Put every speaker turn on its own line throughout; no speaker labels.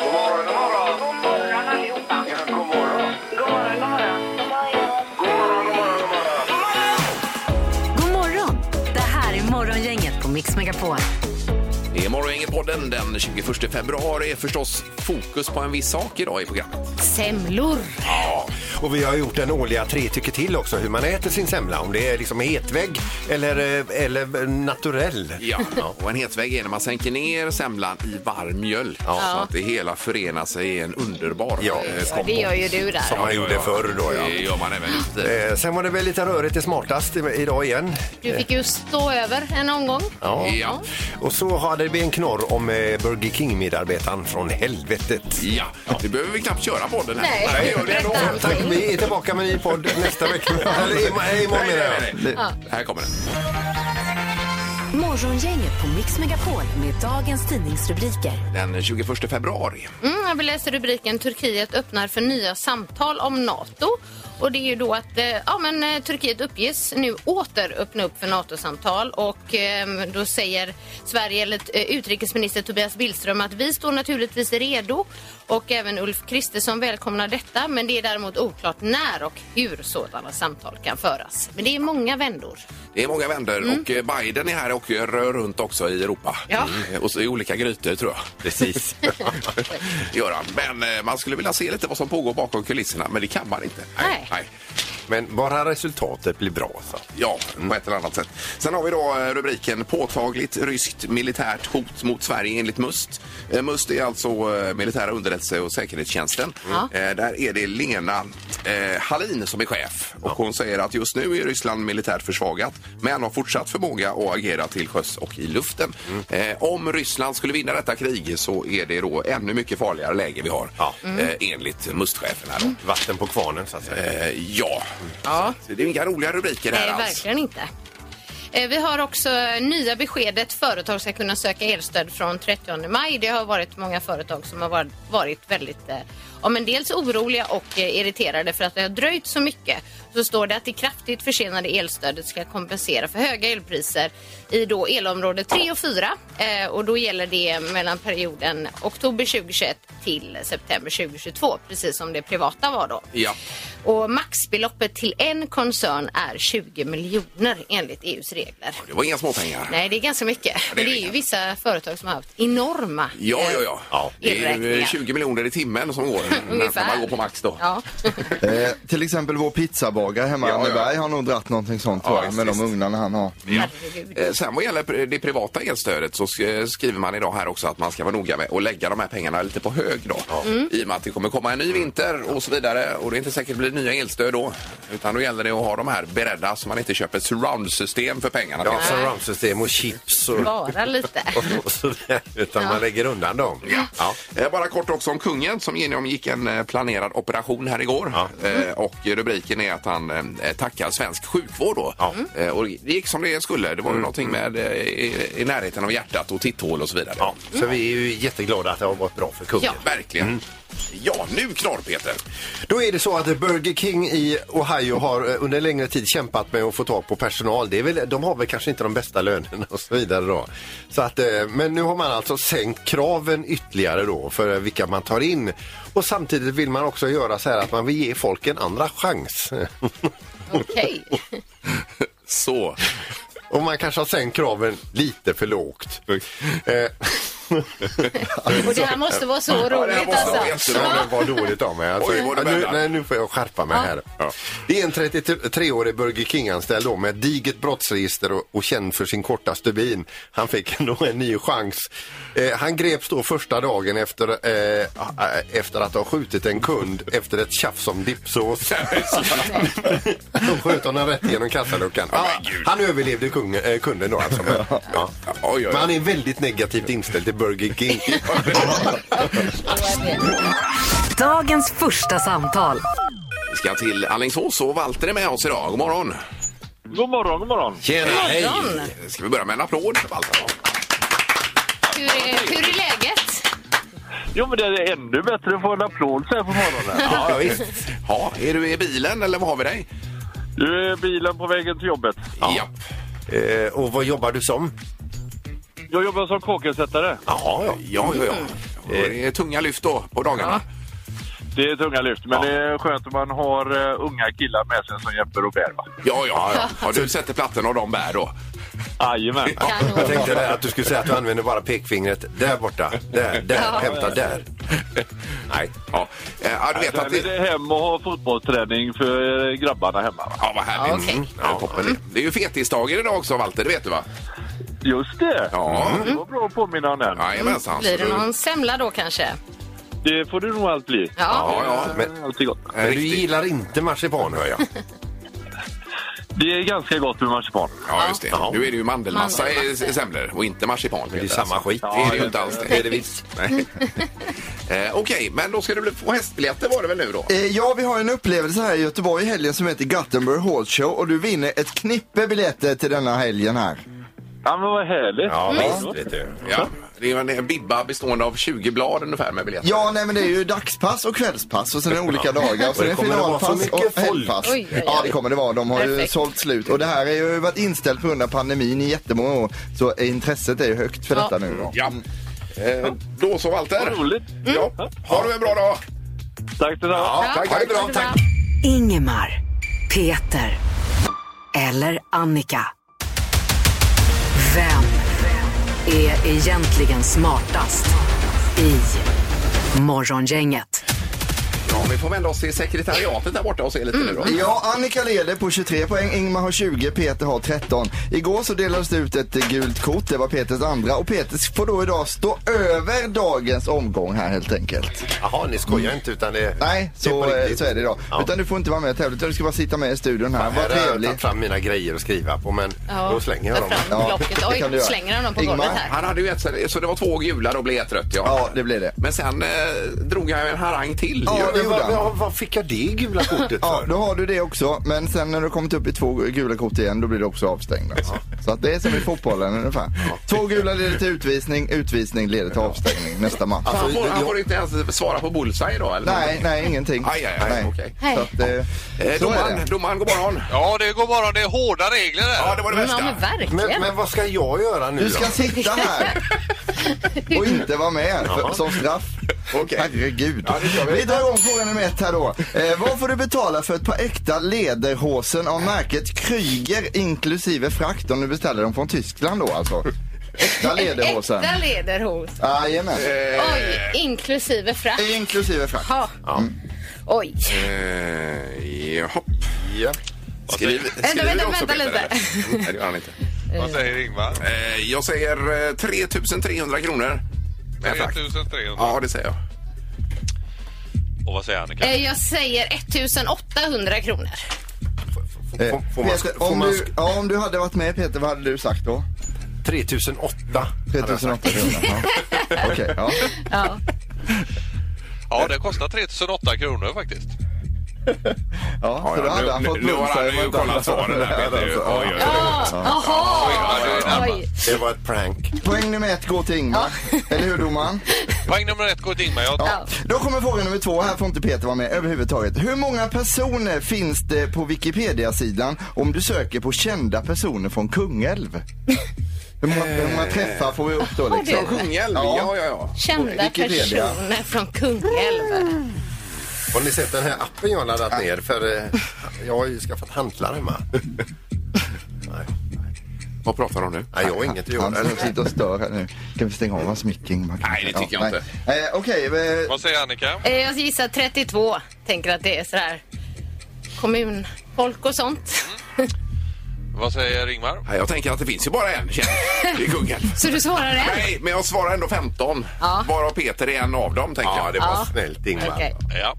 God morgon, god morgon. God morgon allihopa. Ja, god morgon. God morgon, god morgon. God morgon, god morgon, god morgon.
God morgon! Det här är Morgongänget på Mix Megapol.
Det är Morgongänget-podden den 21 februari. är förstås fokus på en viss sak idag i programmet.
Semlor!
Och vi har gjort den årliga tre tycker till också, hur man äter sin semla. Om det är liksom hetvägg eller, eh, eller naturell.
Ja. Och en hetvägg är när man sänker ner semlan i varm mjölk så att det hela förenar sig i en underbar
Ja.
eh, kompott.
Det gör ju du där.
Som man gjorde förr då
Det
ja.
gör man även lite.
Eh, Sen var det väl lite rörigt i smartast i- idag igen.
Du fick ju stå över en omgång.
Ja.
Ja.
Och så hade vi en knorr om eh, Burger King-medarbetaren från helvetet.
Ja, nu behöver vi knappt köra podden här.
Nej,
vi gör det
berätta
ändå.
allt.
Tack, vi är tillbaka med en ny podd nästa vecka. Eller im- imorgon menar jag.
Nej, nej, nej. Här kommer den.
Morgongänget på Mix Megapol med dagens tidningsrubriker.
Den 21 februari.
Mm, jag vill läsa rubriken Turkiet öppnar för nya samtal om NATO. Och det är ju då att eh, ja, men, eh, Turkiet uppges nu åter öppna upp för NATO-samtal och ehm, då säger Sverige, eller eh, utrikesminister Tobias Billström att vi står naturligtvis redo och även Ulf Kristersson välkomnar detta men det är däremot oklart när och hur sådana samtal kan föras. Men det är många vändor.
Det är många vänder och eh, Biden är här och rör runt också i Europa.
Mm. Ja.
Mm. Och så i olika grytor tror jag. Precis. Göran. Men eh, man skulle vilja se lite vad som pågår bakom kulisserna, men det kan man inte.
Nej.
Men bara resultatet blir bra. Så.
Ja, på ett eller annat sätt. Sen har vi då eh, rubriken Påtagligt ryskt militärt hot mot Sverige enligt MUST. Eh, MUST är alltså eh, militära underrättelse och säkerhetstjänsten.
Ja.
Eh, Där är det Lena eh, Hallin som är chef och hon säger att just nu är Ryssland militärt försvagat men har fortsatt förmåga att agera till sjöss och i luften.
Mm.
Eh, Om Ryssland skulle vinna detta krig så är det då ännu mycket farligare läge vi har
Ja.
Mm.
eh, enligt MUST-chefen här då.
Vatten på kvarnen så att säga.
Eh, Ja, Så det är inga roliga rubriker här
Nej,
alls.
verkligen inte. Eh, Vi har också eh, nya beskedet. Företag ska kunna söka elstöd från 30 maj. Det har varit många företag som har var- varit väldigt eh, ja, men dels oroliga och eh, irriterade för att det har dröjt så mycket. Så står det att det kraftigt försenade elstödet ska kompensera för höga elpriser i då elområde 3 och 4. Eh, och då gäller det mellan perioden oktober 2021 till september 2022, precis som det privata var då.
Ja.
Och maxbeloppet till en koncern är 20 miljoner enligt EUs regler.
Det var inga småpengar.
Nej, det är ganska mycket.
det är
Men det är
det.
ju vissa företag som har haft enorma
Ja,
eh,
ja, ja. Det är ju
elräkningar.
20 miljoner i timmen som går. när
Ungefär.
man går på max då.
Ja.
Eh, till exempel vår pizzabagare hemma i
Ja, ja.
Anneberg har nog dratt någonting sånt tror
Ja,
jag, med
visst,
de
visst.
ugnarna han har.
Herregud.
Eh, Sen vad gäller det privata elstödet så sk- eh, skriver man idag här också att man ska vara noga med att lägga de här pengarna lite på hög då.
Mm.
I och med att det kommer komma en ny vinter och så vidare och det är inte säkert blir nya elstöd då. Utan då gäller det att ha de här beredda så man inte köper ett surround-system för pengarna.
Ja, surroundsystem och chips och,
Bara lite.
och sådär. Utan man lägger undan dem. Ja.
Eh, Bara kort också om kungen som genomgick en eh, planerad operation här igår. Eh, Och rubriken är att han eh, tackar svensk sjukvård då.
Ja. Mm.
Eh, Och det gick som det skulle. Det var ju någonting med eh, i, i närheten av hjärtat och titthål och så vidare.
Ja, så vi är ju jätteglada att det har gått bra för kungen.
Ja.
Verkligen.
Mm.
Ja, nu knorr Peter.
Då är det så att Burger King i Ohio har eh, under en längre tid kämpat med att få tag på personal. Det är väl, de har väl kanske inte de bästa lönerna och så vidare då. Så att, eh, men nu har man alltså sänkt kraven ytterligare då för eh, vilka man tar in. Och samtidigt vill man också göra så här att man vill ge folk en andra chans.
Okej.
Så.
Och man kanske har sänkt kraven lite för lågt. Eh,
Och det här måste vara så
det här
roligt
måste vara
alltså.
jätteroligt.
Ja, det var dåligt av mig. Alltså,
Oj, vad du
Ja, nu,
menar.
nej, nu får jag skärpa mig här. Det är en 33-årig Burger King-anställd då med ett digert brottsregister och, och känd för sin korta stubin. Han fick ändå en ny chans. Eh, han greps då första dagen efter, eh, efter att ha skjutit en kund efter ett tjafs om dippsås. Då sköt honom rätt genom kassaluckan.
Ja,
Ah,
men gud.
han överlevde kungen, eh, kunden då alltså. Men, ja.
Oj, oj, oj.
Men han är väldigt negativt inställd till Burger King.
eh,
Dagens första samtal.
Vi ska till Alingsås och Walter är med oss idag. God morgon.
God morgon, god morgon.
Tjena, hej!
Ska vi börja med en applåd för Walter? då?
Hur är, hur är läget?
Jo, men det är ännu bättre att få en applåd så här på morgonen.
Ja, visst.
Ja, är du i bilen eller vad har vi dig?
Nu är bilen på vägen till jobbet.
Japp.
Eh, och vad jobbar du som?
Jag jobbar som kåkersättare.
Mm.
Ja, ja, ja. ja. Det är tunga lyft då på dagarna.
Det är tunga lyft, men det är skönt om man har eh, unga killar med sig som hjälper och bär. va?
Ja, ja, ja. ja du sätter plattan och de bär då.
Jajamän.
Jag tänkte där att du skulle säga att du använder bara pekfingret där borta. Där, där, hämta där.
Nej. Ja, Eh, ja du vet att
Sen är
det...
det hem och ha fotbollsträning för eh, grabbarna hemma. va?
Ja, vad härligt.
Ja, okej.
Mm. Ja, toppen det. Det är ju fetisdagen idag också, Walter, det vet du va?
Just det!
Ja.
Det var bra att påminna om den.
Jajamensan.
Blir det någon semla då kanske?
Det får du nog allt bli.
Ja.
Ja, ja.
Men,
Alltid gott.
men du gillar inte marsipan hör jag.
Det är ganska gott med marsipan.
Ja, just det.
Ja.
Nu är det ju mandelmassa i
Mandelmassa.
i semlor och inte marsipan.
Men det är
Peter,
samma
alltså.
skit.
Det är det ju
Ja,
inte alls
Det
det.
är det visst.
Nej. eh, Okej, men då ska du bli- få hästbiljetter var det väl nu då?
Eh, ja, vi har en upplevelse här i Göteborg i helgen som heter Gothenburg Hall Show och du vinner ett knippe biljetter till denna helgen här.
Ja, men vad härligt.
Ja,
Mm.
visst vet du.
Ja. Det är ju en- en bibba bestående av 20 blad ungefär med biljetter.
Ja, nej men det är ju dagspass och kvällspass och sen är det olika dagar. Och sen
det
är det
kommer att vara så
finalpass
mycket
och
folk.
helgpass.
Oj, oj, oj.
Ja, det kommer det vara. De har ju
Perfekt.
sålt slut. Och det här har ju varit inställt på grund av pandemin i jättemånga år. Så intresset är ju högt för
Ja.
detta nu då.
Ja. Eh, då så,
Vad
Walter.
roligt. Mm.
Ja. Ha du en bra dag.
Tack detsamma.
tack, tack.
Ha det bra.
Ingemar, Peter eller Annika. Vem är egentligen smartast i Morgongänget?
Ja, vi får vända oss till sekretariatet där borta och se lite nu då.
Ja, Annika leder på 23 poäng, Ingmar har 20, Peter har 13. Igår så delades det ut ett eh, gult kort, det var Peters andra och Peter får då idag stå över dagens omgång här helt enkelt.
Jaha, ni skojar inte utan det
Nej, så,
det på
eh,
riktigt.
så är det idag.
Ja.
Utan du får inte vara med och tävla utan du ska bara sitta med i studion här.
här
Vad
har jag
trevligt.
tagit fram mina grejer att skriva på men då slänger jag
ta
dem.
fram
Ja,
blocket.
det kan du
Oj,
göra.
slänger han dem på
Ingmar?
golvet här?
Han hade ju ett, så det var två gula, då blev ett rött. Ja,
Ja, det blir det.
Men sen eh, drog han ju en harang till.
Ja, det
Men
gjorde
vad,
han.
vad, vad fick jag det gula kortet
Ja,
för?
då har du det också. Men sen när du kommit upp i två gula kort igen, då blir du också avstängd. Alltså. Så att det är som i fotbollen ungefär. Två gula leder till utvisning, utvisning leder till avstängning nästa match.
Alltså, han, får, han får inte ens svara på bullseye då? Eller?
Alltså, Nej, nej, ingenting.
Aj, aj, aj,
nej.
okej.
Så att, eh,
Eh,
så är
domaren,
det.
domaren, god morgon.
Ja, det går bara. Det är hårda regler där.
Ja, det var det
Ja,
värsta.
men verkligen.
Men, men vad ska jag göra nu
Du ska
då?
sitta här och inte vara med för, som straff.
Okej.
Herregud.
Ja, det gör vi.
vi. drar igång fråga nummer ett här då. Eh, vad får du betala för ett par äkta lederhosen av märket Kryger inklusive frakt om du beställer dem från Tyskland då alltså? Äkta lederhosen.
Äkta lederhos.
Jajamän.
Eh. Oj, inklusive frakt.
Inklusive frakt.
Ja. Oj.
Eh, jaha.
Ja.
Skriv, skriver
vänta,
du också,
vänta
Peter, eller?
lite.
Mm, Nej, det gör han inte.
Vad säger Ingvar?
Eh, jag säger eh, 3300 kronor. Med frakt.
1300.
Ja, det säger jag.
Och vad säger Annika?
Eh, Jag säger 1800 kronor.
Får, får, får man,
Eh, Peter,
får
om,
man
du, ja, om du hade varit med Peter, vad hade du sagt då?
3008?
3800 kronor. ja. Okej, ja.
Ja.
Ja, det kostar 3800 kronor faktiskt.
ja.
Ja,
Så då
ja,
hade han
nu,
fått
nu har han
bullseye
ju
om inte
kollat
annat.
svaren där. Peter,
alltså,
ju.
alltså.
Oj, oj, oj.
Ja, Jaha! Oj.
Det var ett prank.
Poäng nummer ett går till Ingmar. Eller hur domaren?
Poäng nummer ett går till Ingmar. Jag
Ja.
Då kommer fråga nummer två. Här får inte Peter vara med överhuvudtaget. Hur många personer finns det på Wikipedia-sidan om du söker på kända personer från Kungälv? Hur många, hur många träffar får vi upp då liksom?
du.
Kungälv,
Ja.
ja, ja, ja.
Kända
Wikipedia.
personer från Kungälv.
Har ni sett den här appen jag har laddat ner? För eh, jag har ju skaffat hantlar hemma. Nej,
Vad pratar de om nu?
nej jag har inget att
Han
göra.
som sitter och stör här nu. Kan vi stänga av hans mick Ingmar?
Nej, det tycker jag
nej. Eh, Okej, eh,
Vad säger Annika?
Eh, Jag gissar 32. Tänker att det är sådär kommunfolk och sånt.
Vad säger Ingmar?
Nej, Jag tänker att det finns ju bara en känd i Kungälv.
Så du svarar det?
Nej, men jag svarar ändå 15.
Ja.
Varav Peter är en av dem, tänker
Ja,
jag.
det var snällt Ingmar.
Mm.
Okej.
Ja.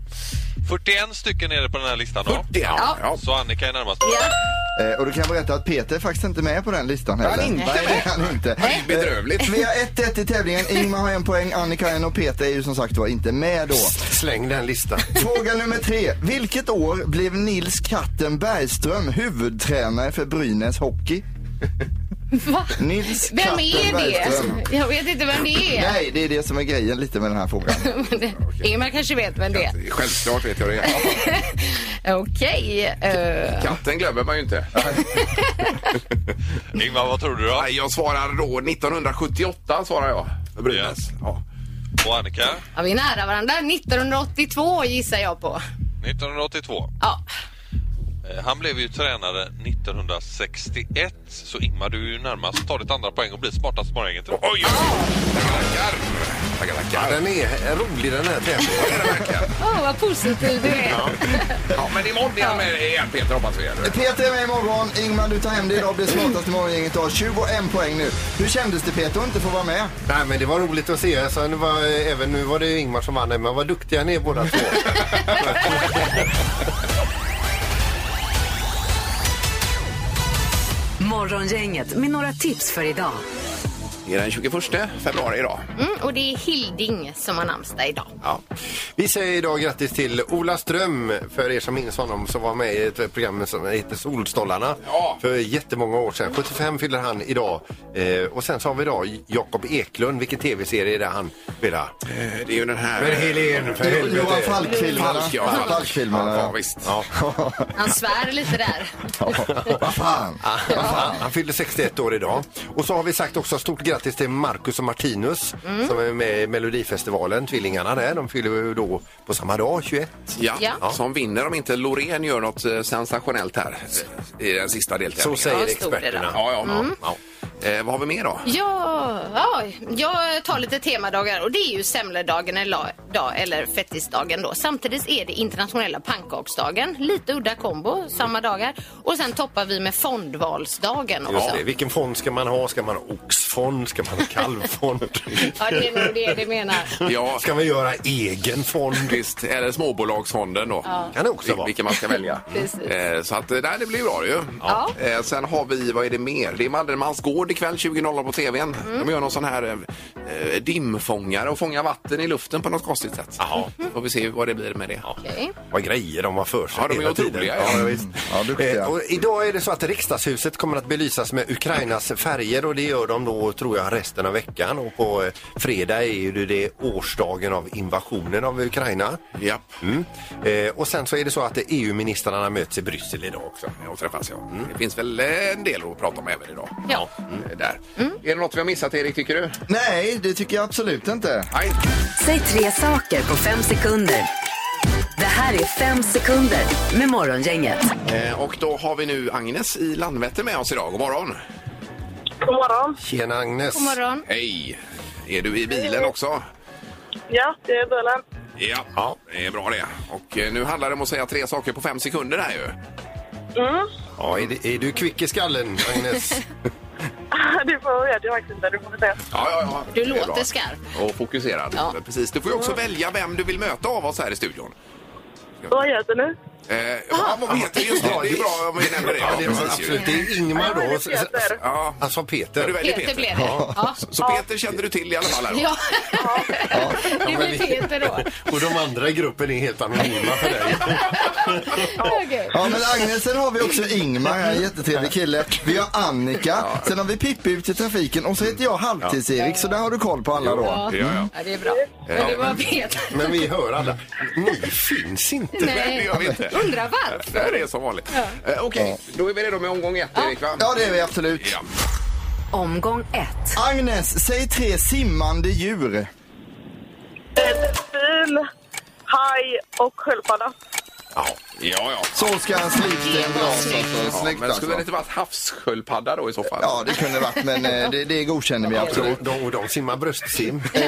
41 stycken är det på den här listan då.
Det är han. Ja.
Så Annika är närmast.
Ja.
Eh, och då kan jag berätta att Peter är faktiskt inte med på den listan
han
heller.
inte
Nej, det är han inte.
Nej, bedrövligt.
Eh, Vi har 1-1 i tävlingen. Ingmar har en poäng, Annika har en och Peter är ju som sagt var inte med då.
Släng den listan.
Fråga nummer tre. Vilket år blev Nils Katten Bergström huvudtränare för Brynäs Hockey?
Va?
Nils
Vem
Katten
är
Bergström.
det? Jag vet inte vem det är.
Nej, det är det som är grejen lite med den här frågan.
Ingemar kanske vet vem det är.
Självklart vet jag det.
Okej. eh,
Katten glömmer man ju inte.
Ingmar, vad tror du då?
Nej, jag svarar då 1978, svarar jag. Brynäs. Ja.
Och Annika,
Ja, vi är nära varandra. 1982 gissar jag på.
1982.
Ja,
Eh, Han blev ju tränare 1961. Så Ingmar, du är ju närmast. Ta ditt andra poäng och bli smartast i morgongänget. idag.
Oj, oj, tackar! Tackar,
Ja,
tackar.
den är rolig den här tävlingen.
Det verkar.
oh, vad positiv du är.
Ja, men imorgon är han med igen, Peter, hoppas vi. eller?
Peter är med imorgon. Ingmar, du tar hem det idag. Blir smartast i morgongänget idag. 21 poäng nu. Hur kändes det Peter att inte få vara med?
Nej, men det var roligt att se. Alltså, nu var, även nu var det Ingmar som vann, men vad duktiga ni är båda två.
Morgongänget med några tips för idag.
Det är den 21 februari idag.
Mm, och det är Hilding som har namnsdag idag.
Ja. Vi säger idag grattis till Ola Ström, för er som minns honom, som var med i ett program som heter Solstollarna
Ja.
för jättemånga år sedan. 75 fyller han idag. Eh, och sen så har vi idag Jakob Eklund, vilken tv-serie är det han spelar?
Eh, Det är ju den här...
Helen, för
Johan Falk-filmerna.
Falk, ja. Falk.
Falk-filmerna.
Ja, visst.
Ja.
Han svär lite där.
Ja, Vad fan.
Han, han fyller 61 år idag. Och så har vi sagt också stort grattis till Marcus och Martinus som är med i Melodifestivalen, tvillingarna där. De fyller ju då på samma dag, 21.
Ja,
Ja.
som vinner om inte Loreen gör något eh, sensationellt här eh, i den sista deltävlingen.
Så säger
Ja, stort är det.
experterna.
Ja, ja, ja.
Mm.
Ja.
Eh, vad har vi mer då?
Ja, ja, jag tar lite temadagar och det är ju semledagen eller, dag, eller fettisdagen då. Samtidigt är det internationella pannkaksdagen. Lite udda kombo, samma dagar. Och sen toppar vi med fondvalsdagen
Just
också.
det. Vilken fond ska man ha? Ska man ha oxfond? Ska man ha kalvfond?
Ja, det är nog det du menar.
Ja,
Ska man göra egen fond?
visst. Eller småbolagsfonden då.
Kan det också
Vil-
vara.
Vilken man ska välja.
Precis.
Eh, så att, eh, nej, det blir bra ju.
Ja.
Eh, sen har vi, vad är det mer? Det är Malmans gård ikväll 20.00 på tvn.
Mm.
De gör någon sån här eh, eh, dimfångare och fångar vatten i luften på något konstigt sätt.
Jaha.
Får vi se vad det blir med det.
Okej.
Vad grejer de har för sig
Ja, de är
hela tiden.
otroliga, ja.
Ja, visst.
Ja, duktiga.
Eh, och idag är det så att riksdagshuset kommer att belysas med Ukrainas färger och det gör de då tror jag resten av veckan och på eh, fredag är ju det- det årsdagen av invasionen av Ukraina.
Japp.
Mm. Eh, och sen så är det så att eh, EU-ministrarna möts i Bryssel idag också.
Och träffas, ja. Det finns väl eh, en del att prata om även idag.
Ja. Mm.
Eh, Där. Är det något vi har missat, Erik, tycker du?
Nej, det tycker jag absolut inte.
Nej.
Säg tre saker på fem sekunder. Det här är fem sekunder med Morgongänget.
Eh, och då har vi nu Agnes i Landvetter med oss idag. God morgon!
God morgon.
Tjena Agnes!
God morgon.
Hej! Är du i bilen också?
Ja, det är Bölen.
Ja, det är bra det. Och eh, nu handlar det om att säga tre saker på fem sekunder här ju.
Ja, är, det, är du kvick i skallen Agnes?
Du får jag faktiskt inte. Du får väl se.
Ja, ja, ja.
Du
Det är
låter
bra.
skarp.
Och fokuserad.
Ja. Mm.
Precis. Du får ju också välja vem du vill möta av oss här i studion.
Vad gör du nu?
Eh, ja, vad heter just det? Det är bra om vi nämner det.
Ja, det är
precis ju.
absolut. Det är Ingmar
Ja, det
då.
är Peter.
Ja.
Han sa
Ja, Du
Peter.
väljer Peter.
Peter blev det. Ja.
Så Peter kände du till i alla fall? Här då.
Ja. Det blir Peter då.
Och de andra i gruppen är helt anonyma för dig.
Okej.
Ja, men Agnes, sen har vi också Ingmar, en jättetrevlig kille. Vi har Annika, sen har vi Pippi ut i trafiken och så heter jag Halvtids-Erik, så där har du koll på alla då.
Ja, ja.
Ja, det är bra. Men det var Peter.
Men vi hör alla. Ni finns inte.
Nej, det
Nej.
gör vi inte.
Undrar varför.
Det här är som vanligt. Eh, Okej, då är vi redo med omgång ett, Erik, va?
Ja, det är vi absolut.
Ja.
Omgång ett.
Agnes, säg tre simmande djur.
En bil, haj och sköldpadda.
Ja, ja.
Så ska han slipsten dras alltså.
ja
Snyggt
men skulle det
alltså.
inte varit havssköldpadda då i så fall?
Ja, det kunde varit, men eh, det, det godkänner vi absolut.
De, de, de simmar bröstsim.
Eh,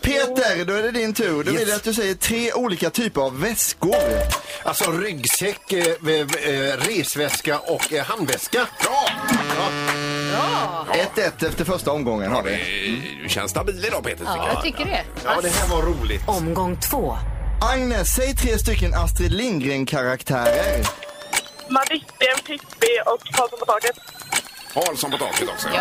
Peter, då är det din tur. Då vill jag att du säger tre olika typer av väskor.
Alltså ryggsäck, eh, eh, resväska och eh, handväska.
Bra!
1-1 efter första omgången har vi.
Eh, Du känns stabil idag Peter.
Ja, jag tycker det.
Ja, det här var roligt.
Omgång två.
Agnes, säg tre stycken Astrid Lindgren-karaktärer.
Madicken, Pippi och Karlsson på taket.
Karlsson på taket också.
Ja.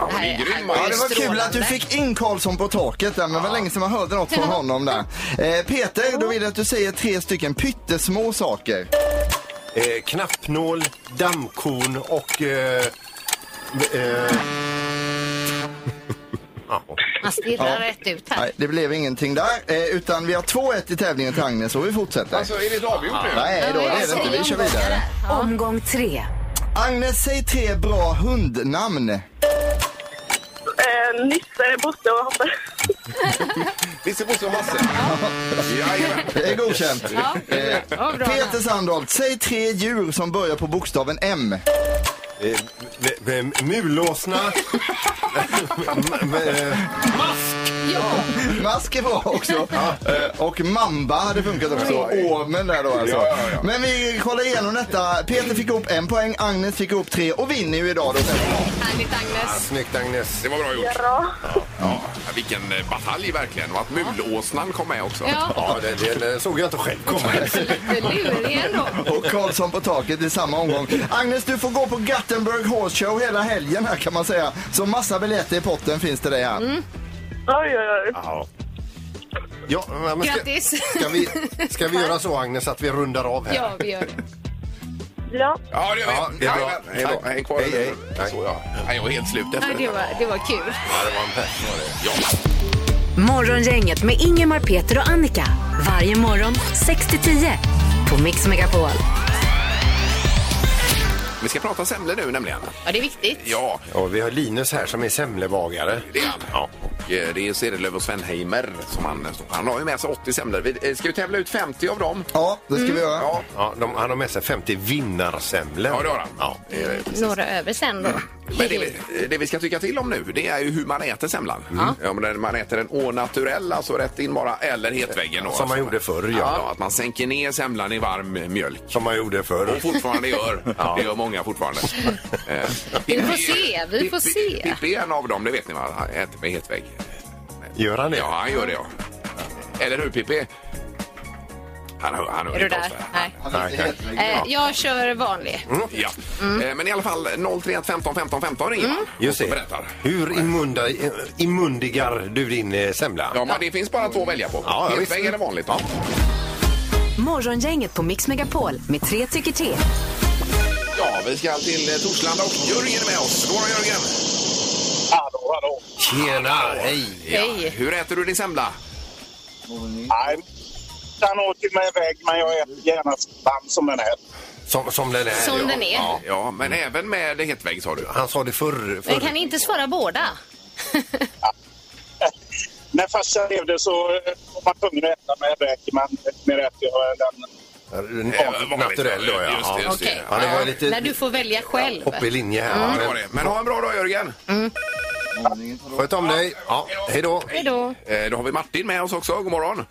ja men det är grym.
Ja, det var kul
Strålande.
att du fick in Karlsson på taket där, men det var länge sedan man hörde något från honom där. Eh, Peter, då vill jag att du säger tre stycken pyttesmå saker.
Eh, knappnål, dammkorn och... Eh, eh, ja.
Han stirrar rätt ut här.
Nej, det blev ingenting där, eh, utan vi har 2-1 i tävlingen till Agnes och vi fortsätter.
Alltså är det inte avgjort nu?
Nej, då, det är det inte. Vi kör vidare.
Omgång tre.
Agnes, säg tre bra hundnamn.
Eh, eh, Nisse, Bosse och Hasse.
Nisse, Bosse och Hasse. Jajamän.
Det är godkänt.
Ja,
Eh,
ja, bra.
Peter Sandholt, säg tre djur som börjar på bokstaven M.
Eh, v- v- Mulåsna. M- eh,
Ja,
Mask är bra också. Eh, Och mamba hade funkat också. Ormen där då alltså.
Ja, ja, ja.
Men vi kollar igenom detta. Peter fick upp en poäng, Agnes fick upp tre och vinner ju idag då.
härligt Agnes.
Snyggt Agnes.
Det var bra gjort.
Bra.
Ja, vilken eh, batalj verkligen. Och att mulåsnan kom med också.
Ja,
Ja, det, det, det såg jag inte själv komma.
lite lurig ändå.
Och Karlsson på taket i samma omgång. Agnes, du får gå på Gothenburg Horse Show hela helgen här kan man säga. Så massa biljetter i potten finns det dig här.
Oj, oj, oj.
Ja. Ja, men ska,
Grattis!
ska, vi, ska vi göra så Agnes att vi rundar av här?
Ja, vi gör det.
Ja.
Ja, det gör vi.
Ja, det är bra.
Jajamän. Hej då.
Tack.
Häng kvar.
Hej, hej. Tack.
Så, ja. Nej, Jag är helt slut efter
Nej, det,
detta.
var, det var kul.
Ja, det var en pärs var det. Ja.
Morgongänget med Ingemar, Peter och Annika. Varje morgon 6 till 10 på Mix Megapol.
Vi ska prata semlor nu nämligen.
Ja, det är viktigt.
Ja,
Ja, vi har Linus här som är semlebagare.
det är han. Ja. Och eh, det är Cederlöf och Svenheimer som han eh, står Han har ju med sig 80 semlor. Vi eh, ska ju tävla ut 50 av dem.
Ja, det ska vi göra.
Ja,
Ja, de, han har med sig 50 vinnarsemlor.
ja det har han.
Ja.
Det är-
Några över sen
Mm.
då.
Men det, vi- det vi ska tycka till om nu det är ju hur man äter semlan. Ja, men när man äter den au naturel, alltså rätt in bara, eller hetväggen. Då,
Som man gjorde förr, ja.
alltså. ja. Att man sänker ner semlan i varm mjölk.
Som man gjorde förr.
Och fortfarande gör. Det gör många fortfarande. Eh,
Vi får
Pippi-
se, vi får
Pippi-
se.
Pippi är en av dem, det vet ni va? Han äter med hetvägg.
Gör han det?
Ja, han gör det ja. Eller hur Pippi? Han, hör- han hör
Är du
inte
där?
oss där.
Nej.
Alltså,
Nej, nej.
Eh, jag kör vanlig.
Mm.
Ja.
Mm.
Eh, Men i alla fall 031 15 15 15 ringer man.
Just
och
det.
berättar.
Hur imunda, imundigar du din eh, semla?
Ja, men det finns bara två att välja på.
Ja, ja,
hetvägg
visst.
eller vanligt. Ja.
Morgongänget på Mix Megapol med tre tycker till.
ja, vi ska till eh, Torslanda och Jörgen är med oss. God morgon Jörgen!
Hallå, hallå.
Tjena, hej!
Hej.
Hur äter du din semla?
Nej, den åker mig iväg, men jag äter gärna band som den här.
Som, som den är.
Som
ja.
den är.
Ja, ja men även med hetvägg sa du.
Han sa det förr. förr.
Men kan ni inte svara båda?
När farsan levde så eh, var man tvungen att äta med räkor, men nu äter jag den.
Eh, vanligt.
Naturell då, ja.
Just det, just det.
Okej.
Ja, det var ju
När du
lite
får välja själv.
hopp i linje här.
Ja, det var det. Men ha en bra dag Jörgen!
Men, sköt om dig. Ja, hej då.
Hej då.
Eh, Då har vi Martin med oss också. God morgon!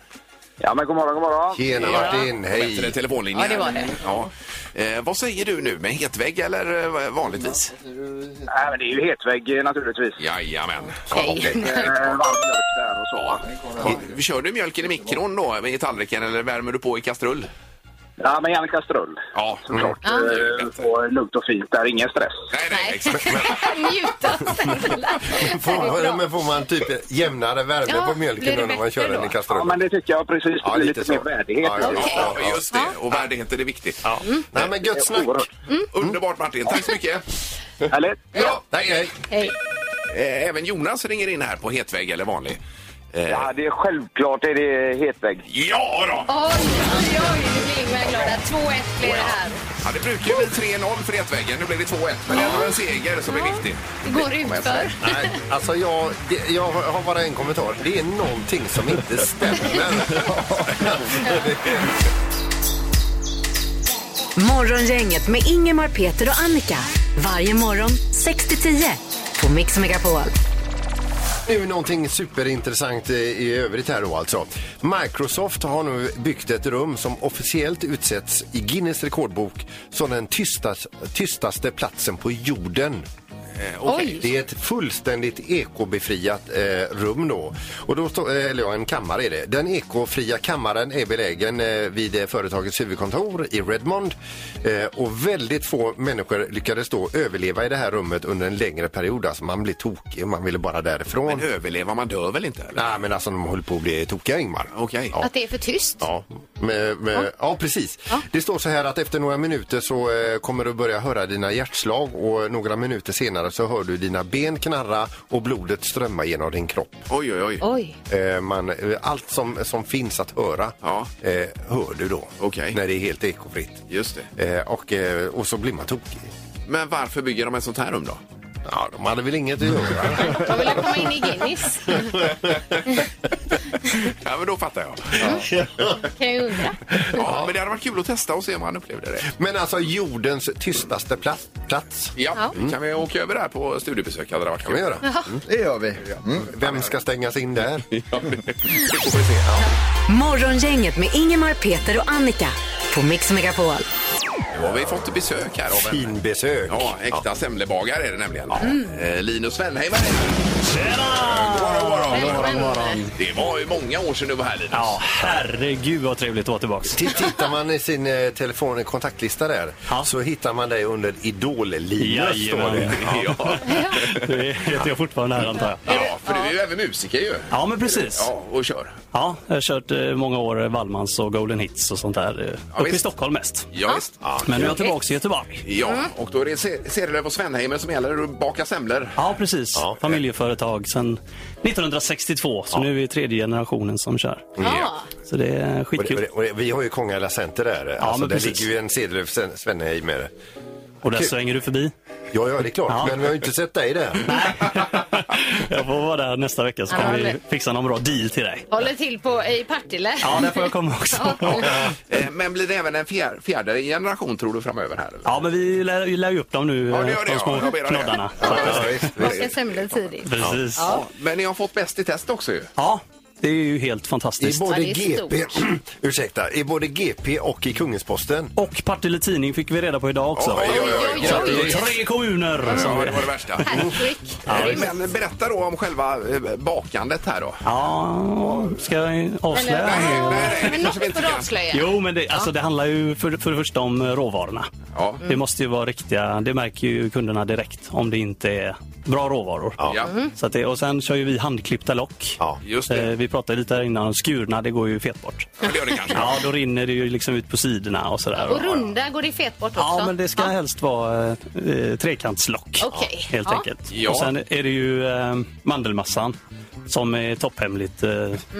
Ja, men god morgon, god morgon.
Tjena Martin,
Bättre
hej.
telefonlinje.
Ja, det var det.
Ja. Eh, vad säger du nu? Med hetvägg eller eh, vanligtvis?
Nej, men det är ju hetvägg eh, naturligtvis.
Jajamän.
Hej.
Eh, varm mjölk där och så.
I- Kör du mjölken i mikron då i tallriken eller värmer du på i kastrull?
Ja, men gärna kastrull.
Ja, Mm.
Såklart.
Ja.
Eh, och lugnt och fint där, ingen stress.
Nej, nej,
Nej.
exakt.
Njuta snälla.
Får, man- men får man typ jämnare värme
Ja,
på
blir
mjölken
det
då när man kör
bättre
den i
då?
Ja,
kastrullen?
men det tycker jag precis. Det
Ja,
blir
lite
lite,
så.
mer värdighet.
Ja, ja,
i det.
ja.
Ja, Mm. just det. Och värdigheten är viktigt.
Nej, men gött snack.
Oerhört.
Underbart Martin, tack så mycket.
Härligt.
Ja.
Nej, nej.
Hej.
Eh, Även Jonas ringer in här på hetvägg eller vanlig. Eh,
Ja, det är självklart är det hetvägg.
Ja då!
Oj, oj, oj. Nu blir Ingmar glad. 2-1 blir det här.
Ja, det brukar ju bli 3-0 för hetväggen. Nu blir det 2-1. Men det är ändå en seger som är viktig.
Det går utför.
Nej, alltså jag, det, jag har bara en kommentar. Det är någonting som inte stämmer.
Morgongänget med Ingemar, Peter och Annika. Varje morgon 6 till 10 på Mix Megapol.
Nu någonting superintressant eh, i övrigt här då alltså. Microsoft har nu byggt ett rum som officiellt utsätts i Guinness rekordbok som den tystas, tystaste platsen på jorden.
Oj.
Det är ett fullständigt ekobefriat eh, rum då. Och då står- eh, eller ja, en kammare är det. Den ekofria kammaren är belägen eh, vid eh, företagets huvudkontor i Redmond. Eh, och väldigt få människor lyckades då överleva i det här rummet under en längre period. Alltså man blev tokig, man ville bara därifrån.
Men överlever man dör väl inte? Eller?
Nej, men alltså de höll på att bli tokiga, Ingmar.
Okej.
Ja.
Att det är för tyst.
Ja, med, med, ja. precis. Det står så här att efter några minuter så eh, kommer du börja höra dina hjärtslag och några minuter senare så hör du dina ben knarra och blodet strömma genom din kropp.
Oj, oj, oj.
Oj.
Eh, man, eh, allt som, som finns att höra
Ja.
eh, hör du då
Okej.
när det är helt ekofritt.
Just det.
Eh, och, eh, och så blir man tokig.
Men varför bygger de ett sånt här rum då?
Ja, de hade väl inget att göra.
De ville komma in i Guinness.
Ja, men då fattar jag.
Kan jag undra.
Ja, men det hade varit kul att testa och se om han upplevde det.
Men alltså jordens tystaste plats. plats.
Ja, kan vi åka över där på studiebesök? Hade det varit
Kan vi göra.
Det gör vi. Mm.
Vem ska stängas in där?
Morgongänget med Ingemar, Peter och Annika på Mix Megapol.
Nu har vi fått besök här av en...
Fin besök.
Ja, äkta semlebagare är det nämligen. Eh, Linus Svenheimer. Tjena! God morgon, god morgon. Det var ju många år sedan du var här Linus.
Ja, herregud vad trevligt att vara tillbaka.
T- Tittar man i sin eh, telefon kontaktlista där
Ja.
så hittar man dig under Idol-Linus. står
Jajamän.
det.
Ja,
Det heter jag fortfarande här antar jag.
ja, för du är ju även musiker ju.
Ja, men precis.
Ja, och kör.
Ja, jag har kört eh, många år eh, Wallmans och Golden Hits och sånt där. eh, Uppe i
visst.
Stockholm mest.
Ja, Mm. visst. Ja,
Men nu är jag tillbaka i Göteborg.
ja. och då är det Se- Cederlöf och Svenheimer som gäller. Du bakar semlor.
Ja, precis. Familjeföretag sedan 1962. Så nu är vi tredje generationen som kör.
Ja.
Så det är
Och det, och
skitkul.
det, och det, vi har ju Kongala Center där. alltså,
men
där
precis.
ligger ju en Cederlöf Sven- Svenneheim med.
Och där svänger du förbi.
Ja, ja, det är klart.
Ja.
Men vi har ju inte sett dig där.
Jag får vara där nästa vecka så
Ja,
kan
det-
vi fixa någon bra deal till dig.
Håller till på, i Partille.
Ja, där får jag komma också.
Eh, Men blir det även en fjär, fjärde generation tror du framöver här? Eller?
Ja, men vi lär, vi lär ju upp dem nu,
Ja, det
eh,
gör det,
de
ja.
små
Jag ber om det.
knoddarna. Så
Ja,
att-
visst, visst.
Man ska semla tidigt.
Precis. Ja.
Ja, Men ni har fått bäst i test också ju.
det är ju helt
I
fantastiskt.
både
Ja, det är stort.
GP, ursäkta, i både GP och i Kungensposten.
Och Partille Tidning fick vi reda på idag också.
Oj, oj, oj.
Så att det är tre kommuner som
Ja,
vi...
det var det värsta.
Hattrick.
Men berätta då om själva eh, bakandet här då.
Ja, ska jag
Eller,
avslöja?
nej,
men eh, något
kanske vi inte
får du
kan.
avslöja.
Jo, men det, alltså, det handlar ju för, för det första om eh, råvarorna.
Ja.
Det måste ju vara riktiga, det märker ju kunderna direkt om det inte är bra råvaror.
Ja,
Mm.
Så att det, och sen kör ju vi handklippta lock.
Ja.
just det.
Mm. Eh, Vi pratade lite här innan om skurna, det går ju fet bort.
Ja, det gör det kanske.
Ja, då rinner det ju liksom ut på sidorna och sådär.
Och runda går det fet bort också.
Ja, men det ska helst vara eh, trekantslock.
Okej.
Helt
Ja.
enkelt.
Ja.
Och sen är det ju eh, mandelmassan som är topphemligt eh,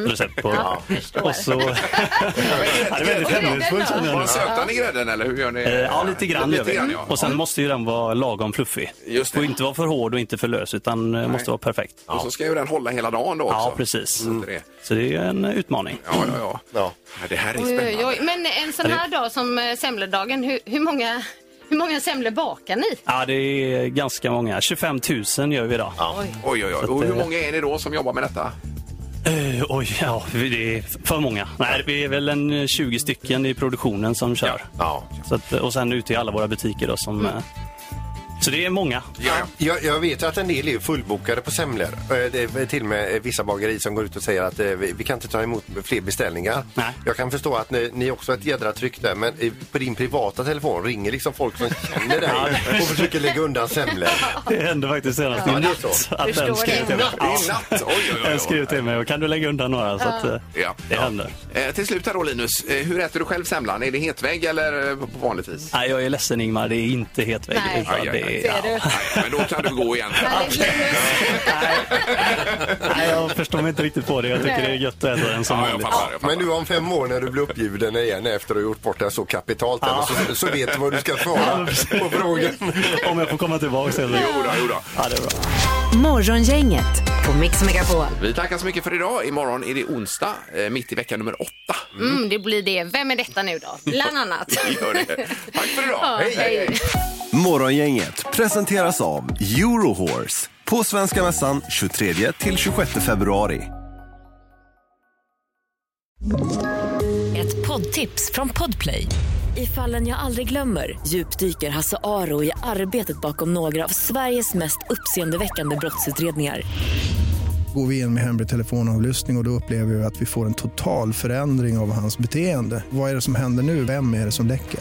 recept på.
Mm. Ja, förstår.
och så... ja, det är väldigt
Grädden
hemlighetsfullt
då?
känner jag
Var
nu.
det sötan i grädden eller hur gör ni?
Eh, Ja, lite grann gör vi.
ja.
Och sen måste ju den vara lagom fluffig.
Just det.
Får inte vara för hård och inte för lös utan eh, måste vara perfekt.
Och så ska ju den hålla hela dagen då också.
Ja, precis.
Så det-
Så det är ju en utmaning.
Ja, ja, ja.
Ja.
Ja, Det här är
Oj, oj,
spännande.
oj. Men en sån här dag som eh, semledagen, hur, hur många, hur många semlor bakar ni?
Ja, det är ganska många. 25 000 gör vi idag.
Oj, oj, oj. Och hur många är ni då som jobbar med detta?
Eh, oj, ja, det är för många. Nej, vi är väl en eh, 20 stycken i produktionen som kör.
Ja.
Så att, eh, och sen ute i alla våra butiker då som...
Mm.
eh, Så det är många.
Ja,
Jag, jag vet att en del är fullbokade på semlor. Eh, Det är till och med eh, vissa bagerier som går ut och säger att eh, vi vi kan inte ta emot fler beställningar.
Nej.
Jag kan förstå att ni, ni också har ett jädra tryck där, men eh, på din privata telefon ringer liksom folk som känner dig och försöker lägga undan semlor.
Det hände faktiskt senast i
Ja, det är
natt.
så.
Att
Förstår
en skrev
det.
till mig.
Det är natt. Oj, oj, oj.
En skrev till mig och kan du lägga undan några? Så att, eh,
Ja.
Det händer.
Eh, till slut här då Linus, eh, hur äter du själv semlan? Är det hetvägg eller eh, på vanligt vis?
Nej, jag är ledsen Ingmar, det är inte hetvägg.
Nej.
utan
Aj, aj, aj.
det är-
Ser du?
Nej, men då kan du gå igen.
Härligt, Linus.
Nej, jag förstår mig inte riktigt på det. Jag tycker det är gött att äta den som
Ja, jag
vanligt.
fattar. Jag fattar.
Men nu om fem år när du blir uppgiven igen efter att ha gjort bort det så kapitalt eller så, så vet du vad du ska svara på frågan.
Om jag får komma tillbaka sen.
Jo då, jo då.
Ja, det är bra.
Morgongänget på Mix Megapol.
Vi tackar så mycket för idag. Imorgon är det onsdag, eh, mitt i vecka nummer åtta.
Mm, det blir det. Vem är detta nu då? Bland annat.
Gör det. Tack för idag.
Ja, hej.
Morgongänget presenteras av Eurohorse på Svenska Mässan 23 till 26 februari.
Ett poddtips från Podplay. I fallen jag aldrig glömmer djupdyker Hasse Aro i arbetet bakom några av Sveriges mest uppseendeväckande brottsutredningar.
Går vi in med hemlig telefonavlyssning och, och då upplever vi att vi får en total förändring av hans beteende. Vad är det som händer nu? Vem är det som läcker?